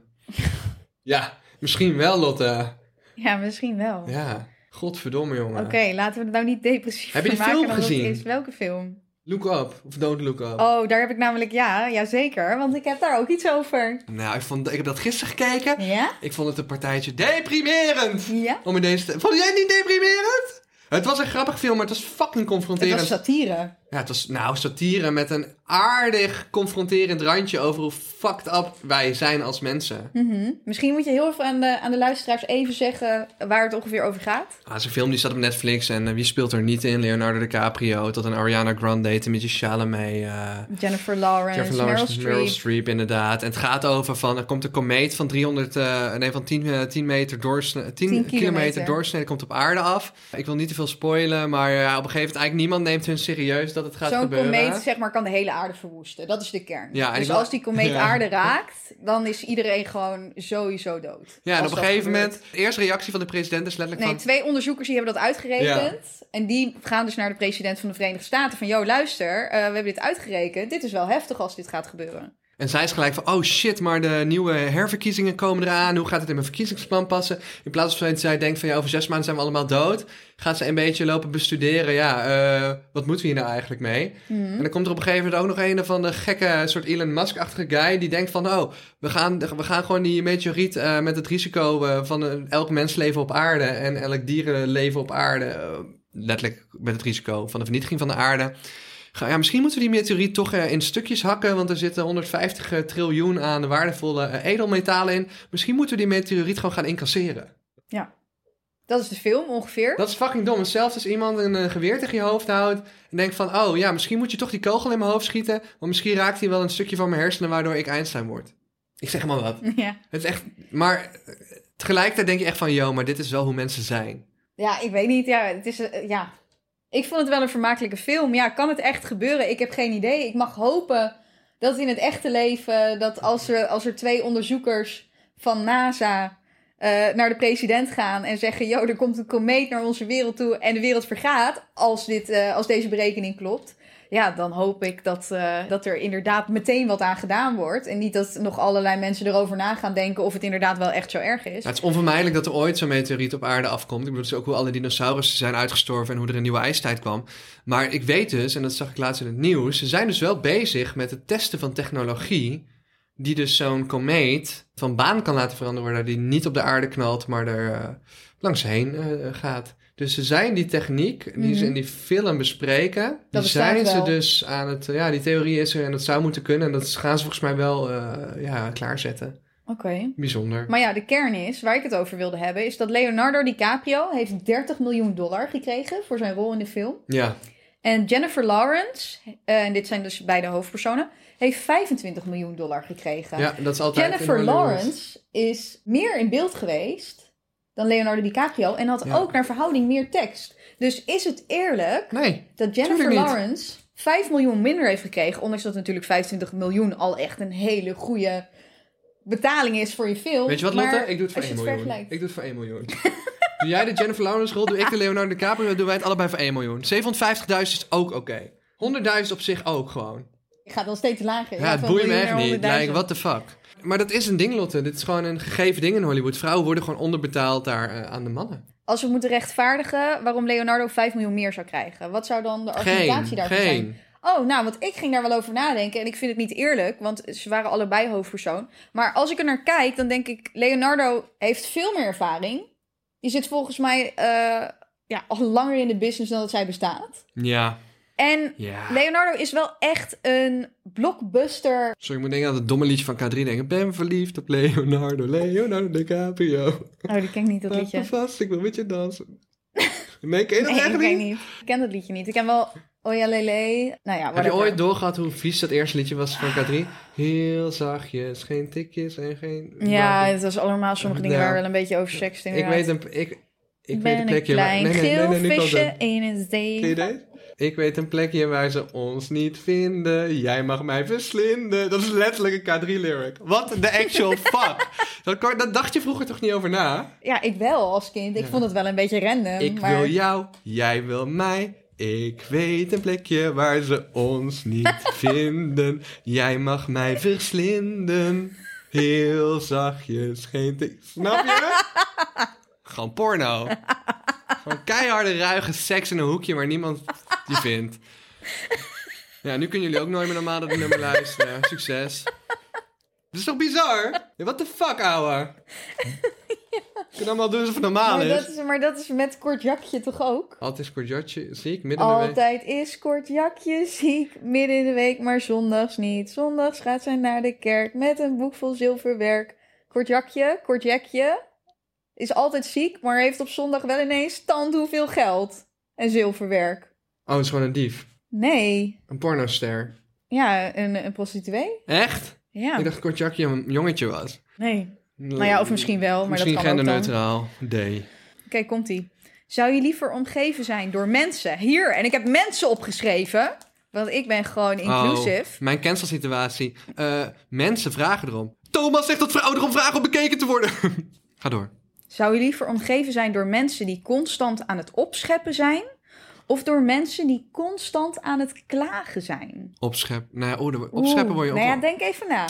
ja, misschien wel, Lotte.
Ja, misschien wel.
Ja, godverdomme, jongen.
Oh. Oké, laten we het nou niet depressief
Heb je die
van maken
film
dan dat
gezien?
Is. Welke film?
Look up, of don't look up.
Oh, daar heb ik namelijk, ja, ja, zeker. Want ik heb daar ook iets over.
Nou, ik, vond, ik heb dat gisteren gekeken.
Ja?
Ik vond het een partijtje deprimerend.
Ja?
Om in deze te- Vond jij het niet deprimerend? Het was een grappig film, maar het was fucking
Het
confronterend.
was satire.
Ja, het was nou satire met een aardig confronterend randje over hoe fucked up wij zijn als mensen.
Mhm. Misschien moet je heel even aan de, aan de luisteraars even zeggen waar het ongeveer over gaat.
Ah, het is een film die staat op Netflix en eh, wie speelt er niet in? Leonardo DiCaprio, tot een Ariana Grande, een beetje Chalamet. eh
Jennifer Lawrence,
Jennifer
Meryl
Lawrence,
Streep.
Meryl Streep, inderdaad. En het gaat over van, er komt een komeet van 300, eh, nee, van 10, eh, 10 meter doorsnee, 10,
10
kilometer,
kilometer.
doorsnee, komt op aarde af. Ik wil niet te veel spoilen, maar eh, op een gegeven moment, eigenlijk niemand neemt hun serieus dat het gaat
Zo'n
gebeuren.
komeet zeg maar, kan de hele aarde verwoesten. Dat is de kern.
Ja, en
dus
ik wil-
als die komeet
Ja.
aarde raakt, dan is iedereen gewoon sowieso dood.
ja, en
Als
op een
dat
gegeven
gebeurt.
moment, de eerste reactie van de president is letterlijk
Nee,
van...
twee onderzoekers die hebben dat uitgerekend. En die gaan dus naar de president van de Verenigde Staten van... Yo, luister, eh, we hebben dit uitgerekend. Dit is wel heftig als dit gaat gebeuren.
En zij is gelijk van, oh shit, maar de nieuwe herverkiezingen komen eraan. Hoe gaat het in mijn verkiezingsplan passen? In plaats van dat zij denkt van, ja, over zes maanden zijn we allemaal dood. Gaat ze een beetje lopen bestuderen. Ja, eh, wat moeten we hier nou eigenlijk mee? En dan komt er op een gegeven moment ook nog een van de gekke soort Elon Musk-achtige guy. Die denkt van, oh, we gaan, we gaan gewoon die meteoriet eh, met het risico eh, van een- elk mensleven op aarde. En elk dierenleven op aarde. eh, letterlijk met het risico van de vernietiging van de aarde. Ga- Ja, misschien moeten we die meteoriet toch eh, in stukjes hakken, want er zitten 150 triljoen aan waardevolle eh, edelmetalen in. Misschien moeten we die meteoriet gewoon gaan incasseren.
Dat is de film ongeveer.
Dat is fucking dom. Zelfs als iemand een eh, geweer tegen je hoofd houdt en denkt van, oh ja, misschien moet je toch die kogel in mijn hoofd schieten, want misschien raakt hij wel een stukje van mijn hersenen waardoor ik Einstein word. Ik zeg maar wat.
[LAUGHS] Ja.
Het is echt, maar eh, tegelijkertijd denk je echt van, yo, maar dit is wel hoe mensen zijn.
ja, ik weet niet. Ja, het is, eh, ja. Ik vond het wel een vermakelijke film. Ja, kan het echt gebeuren? Ik heb geen idee. Ik mag hopen dat in het echte leven... dat als er, als er twee onderzoekers van NASA... eh, naar de president gaan en zeggen: Yo, er komt een komeet naar onze wereld toe en de wereld vergaat. Als, dit, eh, als deze berekening klopt. Ja, dan hoop ik dat, eh, dat er inderdaad meteen wat aan gedaan wordt. En niet dat nog allerlei mensen erover na gaan denken of het inderdaad wel echt zo erg is.
Ja, het is onvermijdelijk dat er ooit zo'n meteoriet op aarde afkomt. Ik bedoel, het is ook hoe alle dinosaurussen zijn uitgestorven en hoe er een nieuwe ijstijd kwam. Maar ik weet dus, en dat zag ik laatst in het nieuws, ze zijn dus wel bezig met het testen van technologie. Die dus zo'n komeet van baan kan laten veranderen, waardoor die niet op de aarde knalt, maar er eh, langs heen eh, gaat. Dus ze zijn die techniek die ze
Mhm.
in die film bespreken, die
bestaat
zijn ze
wel.
dus aan het. ja, die theorie is er en dat zou moeten kunnen. En dat gaan ze volgens mij wel eh, ja, klaarzetten.
Oké.
Bijzonder.
Maar ja, de kern is, waar ik het over wilde hebben, is dat Leonardo DiCaprio heeft 30 miljoen dollar gekregen voor zijn rol in de film.
Ja.
En Jennifer Lawrence, eh, en dit zijn dus beide hoofdpersonen, heeft 25 miljoen dollar gekregen.
ja, dat is altijd. in
Jennifer
Hollywood.
Lawrence is meer in beeld geweest dan Leonardo DiCaprio en had
Ja.
ook naar verhouding meer tekst. Dus is het eerlijk
Nee.
dat Jennifer
Tuurlijk niet.
Lawrence 5 miljoen minder heeft gekregen, ondanks dat natuurlijk 25 miljoen al echt een hele goede betaling is voor je film.
Weet je wat,
maar
Lotte? Ik doe het voor
als
1
je
miljoen.
vergelijkt-
Ik doe het voor 1
[LAUGHS]
miljoen. doe jij de Jennifer Lawrence rol, doe ik de Leonardo DiCaprio, doen wij het allebei voor 1 miljoen. 750.000 is ook oké. 100.000 op zich ook gewoon.
Je gaat dan steeds lager. Je
Ja,
gaat
het
van
boeit me
miljoen
echt
naar
niet.
100.000.
Like, what the fuck. Maar dat is een ding, Lotte. Dit is gewoon een gegeven ding in Hollywood. Vrouwen worden gewoon onderbetaald daar eh, aan de mannen.
Als we moeten rechtvaardigen waarom Leonardo 5 miljoen meer zou krijgen. Wat zou dan de
Geen,
argumentatie daarvoor zijn?
geen.
Oh, nou, want ik ging daar wel over nadenken. En ik vind het niet eerlijk, want ze waren allebei hoofdpersoon. Maar als ik er naar kijk, dan denk ik... Leonardo heeft veel meer ervaring. Die zit volgens mij eh, ja, al langer in de business dan dat zij bestaat.
Ja,
En
ja.
Leonardo is wel echt een blockbuster
Sorry, ik moet denken aan het domme liedje van K3 denken. Ik ben verliefd op Leonardo, Leonardo DiCaprio.
Oh, die ken ik niet, dat
Laat
liedje.
me vast, ik wil met je
[LAUGHS]
dansen. Nee, ken je dat
Nee, ik
echt
ken
niet?
niet. Ik ken dat liedje niet. Ik ken wel Oyalele. Nou ja,
Heb je
whatever.
ooit doorgehad hoe vies dat eerste liedje was van K3? Heel zachtjes, geen tikjes en geen...
Ja, het was allemaal sommige dingen
Ja.
waar wel een beetje over seks
ik
inderdaad.
weet een, ik, ik
ben
weet een plekje... waar-
klein geel visje in een
Ken
zee.
je deze? Ik weet een plekje waar ze ons niet vinden. Jij mag mij verslinden. Dat is letterlijk een K3-lyric. What the
[LAUGHS]
actual fuck? Dat, kon- dat dacht je vroeger toch niet over na?
Ja, ik wel als kind. Ik
Ja.
vond het wel een beetje random.
Ik
Ehm, maar...
wil jou, jij wil mij. Ik weet een plekje waar ze ons
[LAUGHS]
niet vinden. Jij mag mij verslinden. Heel zachtjes, geen te... Snap je? Gewoon porno. Gewoon keiharde, ruige seks in een hoekje waar niemand die vindt. Ja, nu kunnen jullie ook nooit meer normaal dat nummer luisteren. Succes. Dit is toch bizar? Ja, What the fuck,
[LAUGHS]
ouwe? Ik kan allemaal doen alsof het normaal
Maar
is.
dat, is, maar dat is met kort jakje toch ook?
Altijd kortjatje, zie ik, midden in de week.
Altijd is kort jakje ziek, midden in de week, maar zondags niet. Zondags gaat zij naar de kerk met een boek vol zilverwerk. Kort jakje, kort jakje, is altijd ziek, maar heeft op zondag wel ineens tand hoeveel geld en zilverwerk.
Oh, het is gewoon een dief.
Nee,
Een pornoster.
ja, een, een prostituee.
Echt?
Ja,
Ik dacht dat Kortjakje een jongetje was.
nee. Nou ja, of misschien wel, maar
misschien
dat kan ook dan. Oké,
genderneutraal. D.
komt ie. Zou je liever omgeven zijn door mensen? Hier, en ik heb mensen opgeschreven, want ik ben gewoon inclusive.
Oh, mijn cancelsituatie. Eh, mensen vragen erom. Thomas zegt dat vrouwen erom vragen om bekeken te worden. [LAUGHS] Ga door.
Zou je liever omgeven zijn door mensen die constant aan het opscheppen zijn? Of door mensen die constant aan het klagen zijn?
Opschep. Nou ja, oh, daar- opscheppen
Oeh,
word je ook
Nou ja, nou.
wel-
denk even na.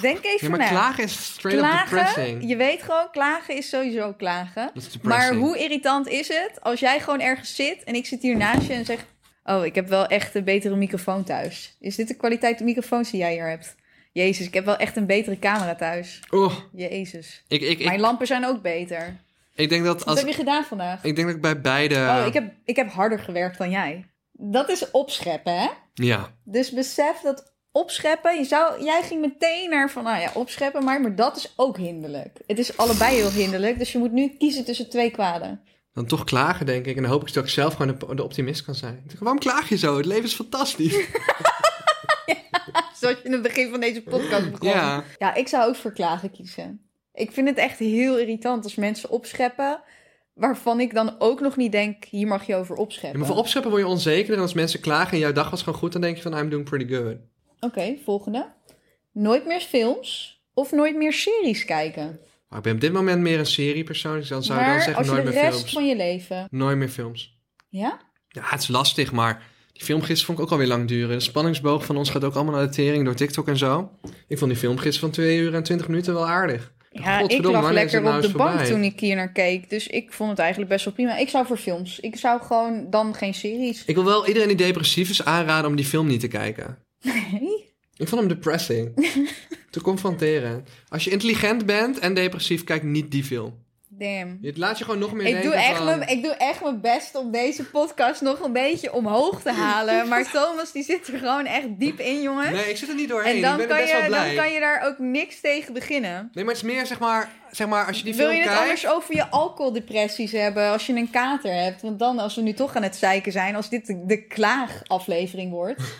Denk even
Ja, maar
na.
klagen is straight up depressing.
je weet gewoon, klagen is sowieso klagen.
Dat is depressing.
Maar hoe irritant is het als jij gewoon ergens zit en ik zit hier naast je en zeg... Oh, ik heb wel echt een betere microfoon thuis. Is dit de kwaliteit microfoons die jij hier hebt? Jezus, ik heb wel echt een betere camera thuis.
Oh,
Jezus.
ik, ik, ik,
Mijn lampen zijn ook beter.
ik denk dat
Wat
als...
heb je gedaan vandaag?
Ik eh, denk dat ik bij beide...
Oh, ik heb, ik heb harder gewerkt dan jij. Dat is opscheppen, hè?
Ja.
Dus besef dat opscheppen... Je zou, jij ging meteen naar van, nou ja, opscheppen maar... Maar dat is ook hinderlijk. Het is allebei heel hinderlijk. Dus je moet nu kiezen tussen twee kwaden.
Dan toch klagen, denk ik. En dan hoop ik dat ik zelf gewoon de, de optimist kan zijn. Ik denk, Waarom klaag je zo? Het leven is
[LAUGHS]
fantastisch.
Zoals je in het begin van deze podcast begon.
ja.
Ja, ik zou ook voor klagen kiezen. Ik vind het echt heel irritant als mensen opscheppen... waarvan ik dan ook nog niet denk... hier mag je over
Ja,
opscheppen.
maar voor opscheppen word je onzeker. En als mensen klagen en jouw dag was gewoon goed, dan denk je van I'm doing pretty good.
Oké, volgende. Nooit meer films of nooit meer series kijken.
Maar ik ben op dit moment meer een seriepersoon. Dus dan zou
maar
ik dan zeggen
als je
nooit
de
meer
rest
films.
van je leven...
Nooit meer films.
Ja?
Ja, het is lastig, maar die film gisteren vond ik ook alweer lang duren. De spanningsboog van ons gaat ook allemaal naar de tering door TikTok en zo. Ik vond die film gisteren van 2 uur en 20 minuten wel aardig.
Ja, ik
godverdomme,
lag
wanneer is het
lekker
nou
op de
eens
bank
voorbij?
toen ik hier naar keek. Dus ik vond het eigenlijk best wel prima. Ik zou voor films. Ik zou gewoon dan geen series. [LAUGHS]
Ik wil wel iedereen die depressief is aanraden om die film niet te kijken.
Nee.
Ik vond hem
[LAUGHS]
depressing. te confronteren. Als je intelligent bent en depressief, kijk niet die film.
Damn.
Het laat je gewoon nog meer
Ik
denken
doe, echt
van-
mijn, ik doe echt mijn best om deze podcast nog een beetje omhoog te halen. [LAUGHS] Maar Thomas die zit er gewoon echt diep in, jongens.
Nee, ik zit er niet doorheen.
en
ik
dan
ben er
kan,
best wel
je,
blij.
dan kan je daar ook niks tegen beginnen.
Nee, maar het is meer zeg maar, zeg maar als je die
Wil
film
je het
kijkt.
anders over je alcoholdepressies hebben als je een kater hebt? Want dan, als we nu toch aan het zeiken zijn, als dit de, de klaagaflevering wordt.
[LAUGHS]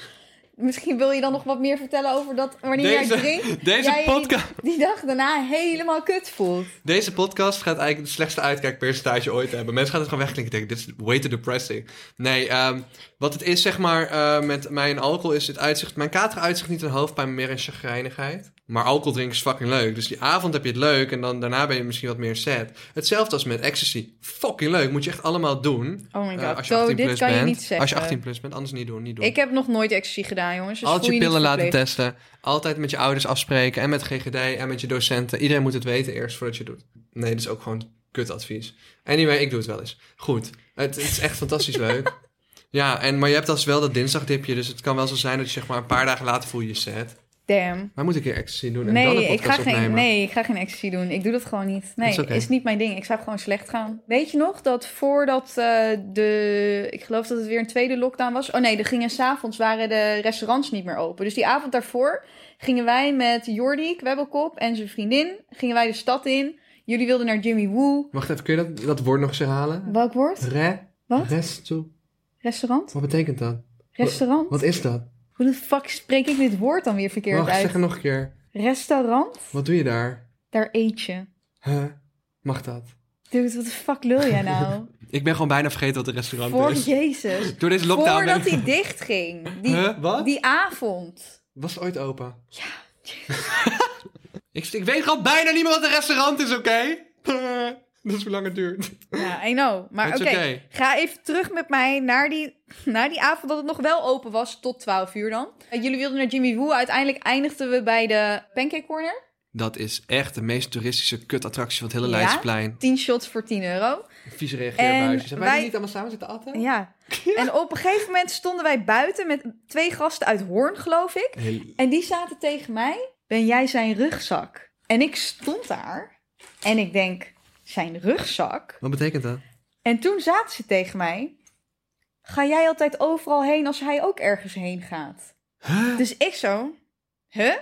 misschien wil je dan nog wat meer vertellen over dat wanneer
Deze-
jij drinkt.
deze
jij je die-
podcast-
Die, dag daarna helemaal kut voelt.
Deze podcast gaat eigenlijk het slechtste uitkijkpercentage ooit hebben. Mensen gaan het gewoon wegklinken. Denken, dit is way too depressing. Nee, ehm, wat het is zeg maar eh, met mijn alcohol is het uitzicht. Mijn kater uitzicht niet in hoofdpijn, maar meer in chagrijnigheid. Maar alcohol drinken is fucking leuk. Dus die avond heb je het leuk en dan daarna ben je misschien wat meer sad. Hetzelfde als met ecstasy. Fucking leuk. Moet je echt allemaal doen.
Oh my
Eh,
god,
als je
Zo,
18
dit
plus
kan je
bent.
niet zeggen.
Als je 18 plus bent, anders niet doen. Niet doen.
Ik heb nog nooit ecstasy gedaan, jongens. Dus
altijd
voel
je pillen
niet
laten
verplicht.
testen. Altijd met je ouders afspreken. En met GGD en met je docenten. Iedereen moet het weten eerst voordat je het doet. Nee, dat is ook gewoon kut advies. Anyway, ik doe het wel eens. Goed. Het, het is echt
[LAUGHS]
fantastisch leuk. Ja, en, maar je hebt als wel dat dinsdagdipje. Dus het kan wel zo zijn dat je zeg maar een paar dagen later voel je je sad.
Damn.
Maar moet ik hier ecstasy doen en dan een
Nee ik,
podcast
ga geen,
opnemen?
nee, ik ga geen ecstasy doen. Ik doe dat gewoon niet. Nee,
is
is,
oké.
niet mijn ding. Ik zou gewoon slecht gaan. Weet je nog dat voordat eh, de... Ik geloof dat het weer een tweede lockdown was. Oh nee, er gingen s'avonds waren de restaurants niet meer open. Dus die avond daarvoor gingen wij met Jordi Kwebbelkop en zijn vriendin... gingen wij de stad in. Jullie wilden naar Jimmy Woo.
Wacht even, kun je dat, dat woord nog eens herhalen?
Welk woord?
Re,
Wat?
resto.
Restaurant?
Wat betekent dat?
Restaurant?
Wat is dat?
Hoe de fuck spreek ik dit woord dan weer verkeerd
Wacht, zeg
uit?
het nog een keer.
Restaurant?
Wat doe je daar?
Daar eet je.
Huh? Mag dat?
Dude, wat de fuck lul jij
[LAUGHS]
nou?
Ik ben gewoon bijna vergeten wat een restaurant
Voor
is.
Jezus.
Door deze lockdown. ben ik-
Voordat hij dicht ging. Die,
Huh, wat?
die avond.
Was het ooit open? Ja. [LAUGHS] ik, ik weet gewoon bijna niet meer wat een restaurant is, oké? [LAUGHS] Dat is hoe lang het duurt.
Ja, I know. Maar
It's
oké,
okay.
ga even terug met mij naar die, naar die avond dat het nog wel open was tot 12 uur dan. Eh, jullie wilden naar Jimmy Woo. Uiteindelijk eindigden we bij de Pancake Corner.
Dat is echt de meest toeristische kutattractie van het hele
Ja?
Leidseplein.
10 shots voor 10 euro.
Vieze reageerbuisjes.
En
Hebben wij
wij-
niet allemaal samen zitten atten?
Ja. En op een gegeven moment stonden wij buiten met twee gasten uit Hoorn, geloof ik.
Heel-
En die zaten tegen mij: Ben jij zijn rugzak? En ik stond daar en ik denk: Zijn rugzak?
Wat betekent dat?
En toen zaten ze tegen mij: Ga jij altijd overal heen als hij ook ergens heen gaat? Dus ik zo: Huh?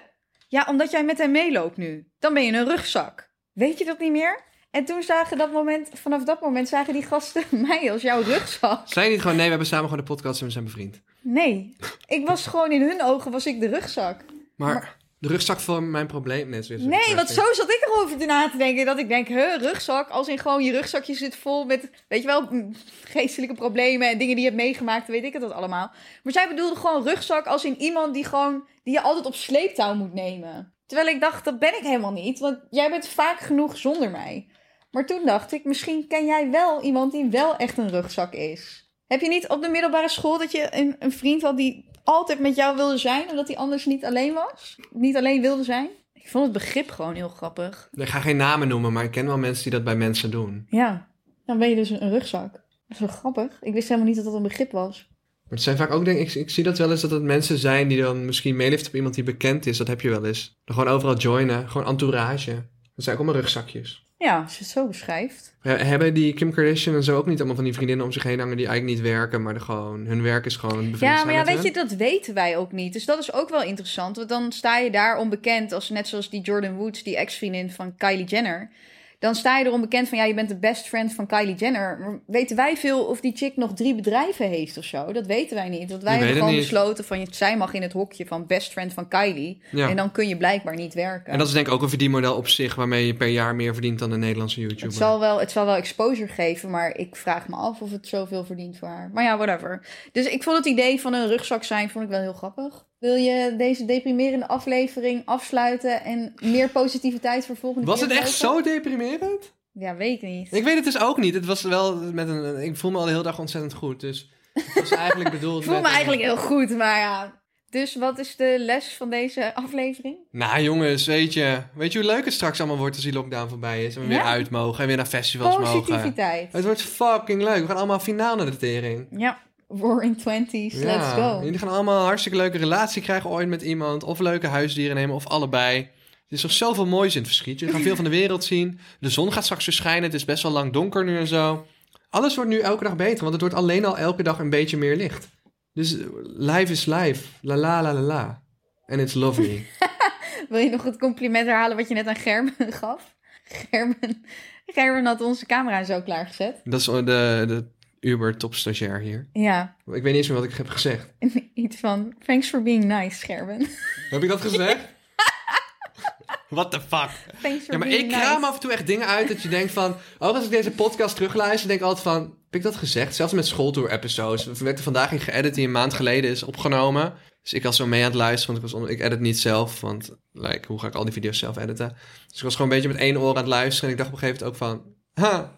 Ja, omdat jij met hem meeloopt nu. Dan ben je een rugzak. Weet je dat niet meer? En toen zagen dat moment, vanaf dat moment zagen die gasten [LAUGHS] mij als jouw rugzak.
Zijn niet gewoon, nee, we hebben samen gewoon de podcast en we zijn bevriend.
Nee, ik was gewoon in hun ogen was ik de rugzak.
Maar, de rugzak voor mijn probleem. Nee, zo is het
Nee,
niet.
want zo zat ik erover na te denken. Dat ik denk, huh, rugzak. Als in gewoon je rugzakje zit vol met, weet je wel, mm, geestelijke problemen en dingen die je hebt meegemaakt. Weet ik het dat allemaal. Maar zij bedoelde gewoon rugzak als in iemand die gewoon, die je altijd op sleeptouw moet nemen. Terwijl ik dacht, dat ben ik helemaal niet. Want jij bent vaak genoeg zonder mij. Maar toen dacht ik, misschien ken jij wel iemand die wel echt een rugzak is. Heb je niet op de middelbare school dat je een, een vriend had die altijd met jou wilde zijn, omdat hij anders niet alleen was? Niet alleen wilde zijn? Ik vond het begrip gewoon heel grappig.
Ik ga geen namen noemen, maar ik ken wel mensen die dat bij mensen doen.
Ja, dan ben je dus een rugzak. Dat is wel grappig. Ik wist helemaal niet dat dat een begrip was.
Maar het zijn vaak ook, denk ik, ik zie dat wel eens dat het mensen zijn die dan misschien meelift op iemand die bekend is. Dat heb je wel eens. Dan gewoon overal joinen, gewoon entourage. Dat zijn ook allemaal rugzakjes.
Ja, als je het zo beschrijft.
He- Hebben die Kim Kardashian en zo ook niet allemaal van die vriendinnen om zich heen hangen die eigenlijk niet werken, maar er gewoon, hun werk is gewoon bevriend
Ja,
zijn
maar ja,
met
weet je,
hen?
dat weten wij ook niet. Dus dat is ook wel interessant. Want dan sta je daar onbekend, als, net zoals die Jordan Woods, die ex-vriendin van Kylie Jenner. Dan sta je er onbekend van, ja, je bent de best friend van Kylie Jenner. Maar weten wij veel of die chick nog drie bedrijven heeft of zo? Dat weten wij niet. Want wij
Ik weet
hebben
het
gewoon
niet.
besloten van, zij mag in het hokje van best friend van Kylie.
Ja.
En dan kun je blijkbaar niet werken.
En dat is denk ik ook een verdienmodel op zich, waarmee je per jaar meer verdient dan een Nederlandse YouTuber.
Het zal, wel, het zal wel exposure geven, maar ik vraag me af of het zoveel verdient voor haar. Maar ja, whatever. Dus ik vond het idee van een rugzak zijn vond ik wel heel grappig. Wil je deze deprimerende aflevering afsluiten en meer positiviteit voor volgende
Was
keer
het echt
beloven?
zo deprimerend?
Ja, weet ik niet.
Ik weet het dus ook niet. Het was wel met een. Ik voel me al de hele dag ontzettend goed. Dus het was
[LAUGHS]
eigenlijk bedoeld.
Ik voel
met
me
een-
eigenlijk heel goed, maar ja. Dus wat is de les van deze aflevering?
Nou jongens, weet je. Weet je hoe leuk het straks allemaal wordt als die lockdown voorbij is? En we weer
Ja.
uit mogen en weer naar festivals mogen.
Positiviteit.
Het wordt fucking leuk. We gaan allemaal finaal naar de tering.
Ja, War in Twenties,
Ja.
let's go.
Jullie gaan allemaal een hartstikke leuke relatie krijgen ooit met iemand. Of leuke huisdieren nemen, of allebei. Er is nog zoveel moois in het verschiet. Jullie gaan veel van de wereld zien. De zon gaat straks weer schijnen. Het is best wel lang donker nu en zo. Alles wordt nu elke dag beter, want het wordt alleen al elke dag een beetje meer licht. Dus eh, life is life. La la la la la. And it's lovely.
Wil je nog het compliment herhalen wat je net aan Gerben [LAUGHS] gaf? Gerben, Gerben had onze camera zo klaargezet.
Dat is de, de Uber topstagiair hier.
Ja, [LAUGHS]
Ik weet niet eens meer wat ik heb gezegd.
iets van thanks for being nice, Gerben. [LAUGHS]
Heb ik dat gezegd? [LAUGHS] What the fuck?
Thanks for
Ja, maar
being
ik
nice.
kraam af en toe echt dingen uit dat je denkt van... Oh, als ik deze podcast terugluister, denk ik altijd van... Heb ik dat gezegd? Zelfs met schooltour-episodes. We werden vandaag in geëdit die een maand geleden is opgenomen. Dus ik was zo mee aan het luisteren, want ik, was on- ik edit niet zelf. Want like, hoe ga ik al die video's zelf editen? Dus ik was gewoon een beetje met één oor aan het luisteren. En ik dacht op een gegeven moment ook van...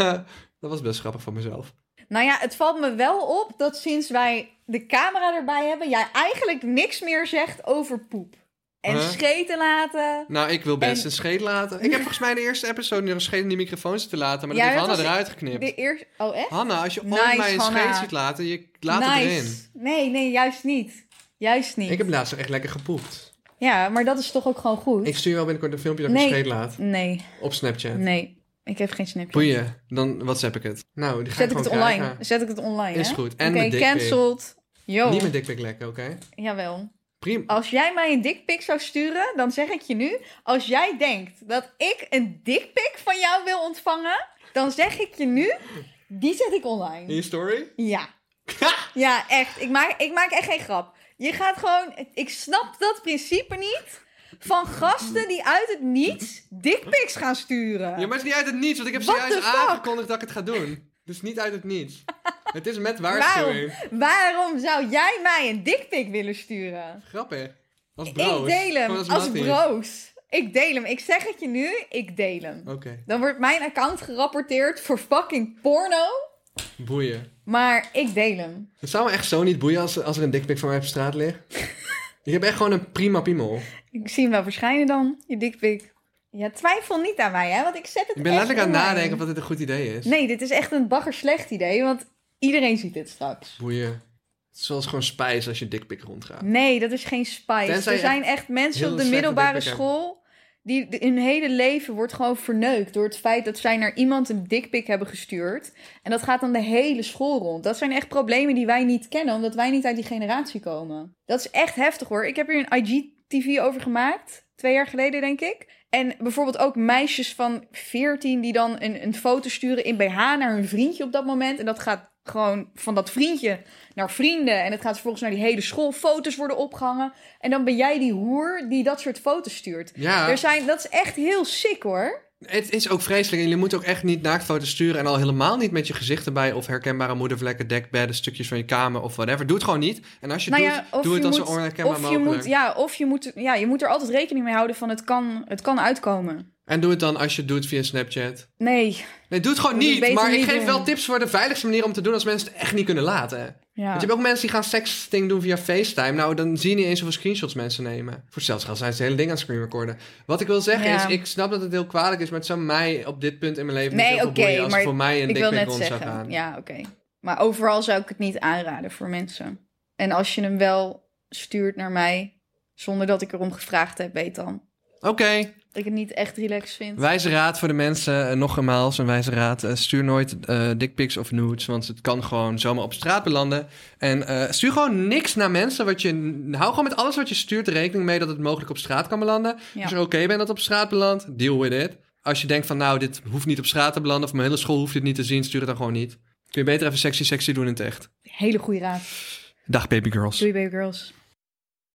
Ha, [LAUGHS] dat was best grappig van mezelf.
Nou ja, het valt me wel op dat sinds wij de camera erbij hebben, jij eigenlijk niks meer zegt over poep. En
Huh?
scheten laten.
Nou, ik wil best
En-
een scheet laten. Ik heb volgens mij in de eerste episode nog een scheet in die microfoon zitten laten. Maar dat
Ja,
heeft
dat
Hanna
was-
eruit geknipt.
De eerste. Oh, echt?
Hanna, als je ooit
Nice,
mij een scheet
Hanna.
ziet laten, je laat het
nice.
erin.
Nee, nee, juist niet. Juist niet.
Ik heb laatst echt lekker gepoept.
Ja, maar dat is toch ook gewoon goed?
Ik stuur je wel binnenkort een filmpje dat ik
Nee.
me scheet laat.
Nee,
Op Snapchat.
nee. Ik heb geen Snapchat.
Boeien. Dan WhatsApp ik het. Nou, die ga
Zet
ik
ik het
gewoon
online.
krijgen.
Zet ik het online,
Is
hè?
goed.
Oké,
En mijn dickpic.
cancelled. Yo.
Niet met dikpik lekker, oké?
Jawel.
Prima.
Als jij mij een dikpik zou sturen, dan zeg ik je nu... Als jij denkt dat ik een dikpik van jou wil ontvangen... dan zeg ik je nu, die zet ik
In
online.
je story? [LAUGHS]
Ja. Ja, echt. Ik maak, ik maak echt geen grap. Je gaat gewoon... Ik snap dat principe niet... van gasten die uit het niets dikpiks gaan sturen.
Ja, maar het is niet uit het niets, want ik heb
What
zojuist
the fuck?
aangekondigd dat ik het ga doen. Dus niet uit het niets.
[LAUGHS]
Het is met waarschuwing.
Waarom, waarom zou jij mij een dikpik willen sturen?
Grappig. Als broos.
Ik deel hem
Gewoon
als,
mattie.
broos. Ik deel hem. Ik zeg het je nu, ik deel hem.
Oké,
Dan wordt mijn account gerapporteerd voor fucking porno.
boeien.
Maar ik deel hem.
Het zou me echt zo niet boeien als, als er een dikpik van mij op straat
[LAUGHS]
ligt. Ik heb echt gewoon een prima piemel.
Ik zie hem wel verschijnen dan, je dikpik. Ja, twijfel niet aan mij, hè? Want ik zet het
Ik ben
echt
letterlijk aan het
online.
nadenken of dat dit een goed idee is.
Nee, dit is echt een bagger slecht idee, want iedereen ziet dit straks.
Boeien. Het is zoals gewoon spijs als je dikpik rondgaat.
Nee, dat is geen spice.
Tenzij
er
je
zijn echt mensen
heel
op de
slechte
middelbare
dikpik hebt.
school... die de- hun hele leven wordt gewoon verneukt... door het feit dat zij naar iemand een dikpik hebben gestuurd. En dat gaat dan de hele school rond. Dat zijn echt problemen die wij niet kennen... omdat wij niet uit die generatie komen. Dat is echt heftig hoor. Ik heb hier een IGTV over gemaakt. Twee jaar geleden, denk ik. En bijvoorbeeld ook meisjes van 14 die dan een, een foto sturen in BH naar hun vriendje op dat moment. En dat gaat gewoon van dat vriendje naar vrienden. En het gaat vervolgens naar die hele school. Foto's worden opgehangen. En dan ben jij die hoer die dat soort foto's stuurt.
Ja,
Er zijn, dat is echt heel sick hoor.
het is ook vreselijk. En jullie moeten ook echt niet naaktfoto's sturen. En al helemaal niet met je gezicht erbij. Of herkenbare moedervlekken, dekbedden, stukjes van je kamer of whatever. Doe het gewoon niet. En als je
Nou
het
ja,
doet,
of
doe het
je
dan zo
moet-
onherkenbaar
Of je,
mogelijk.
moet, ja, of je moet, ja, je moet er altijd rekening mee houden van het kan, het kan uitkomen.
En doe het dan als je het doet via Snapchat.
Nee,
Nee, doe het gewoon
Moet ik
niet.
beter
Maar ik
niet
geef
doen.
wel tips voor de veiligste manier om te doen als mensen het echt niet kunnen laten.
ja.
Want Dus je hebt ook mensen die gaan sexting doen via FaceTime. Nou, dan zie je niet eens hoeveel screenshots mensen nemen. Voor hetzelfde geld zijn ze het hele ding aan het screenrecorden. Wat ik wil zeggen
Ja.
is, ik snap dat het heel kwalijk is, maar het zou mij op dit punt in mijn leven
Nee,
niet heel
oké,
veel boeien als
maar
er voor mij een
ik wil
dikpik
net
rond zou
zeggen.
gaan.
Ja, oké. Maar overal zou ik het niet aanraden voor mensen. En als je hem wel stuurt naar mij, zonder dat ik erom gevraagd heb, weet dan.
Oké,
Dat ik het niet echt relaxed vind.
wijze raad voor de mensen. eh, nogmaals, een wijze raad. Eh, stuur nooit eh dickpics of nudes, want het kan gewoon zomaar op straat belanden. En eh, stuur gewoon niks naar mensen. Wat je, hou gewoon met alles wat je stuurt rekening mee dat het mogelijk op straat kan belanden.
Ja.
Als je oké bent dat het op straat belandt, deal with it. Als je denkt van nou, dit hoeft niet op straat te belanden... of mijn hele school hoeft dit niet te zien, stuur het dan gewoon niet. Kun je beter even sexy sexy doen in het echt.
Hele goede raad.
Dag baby girls.
Doei, baby girls.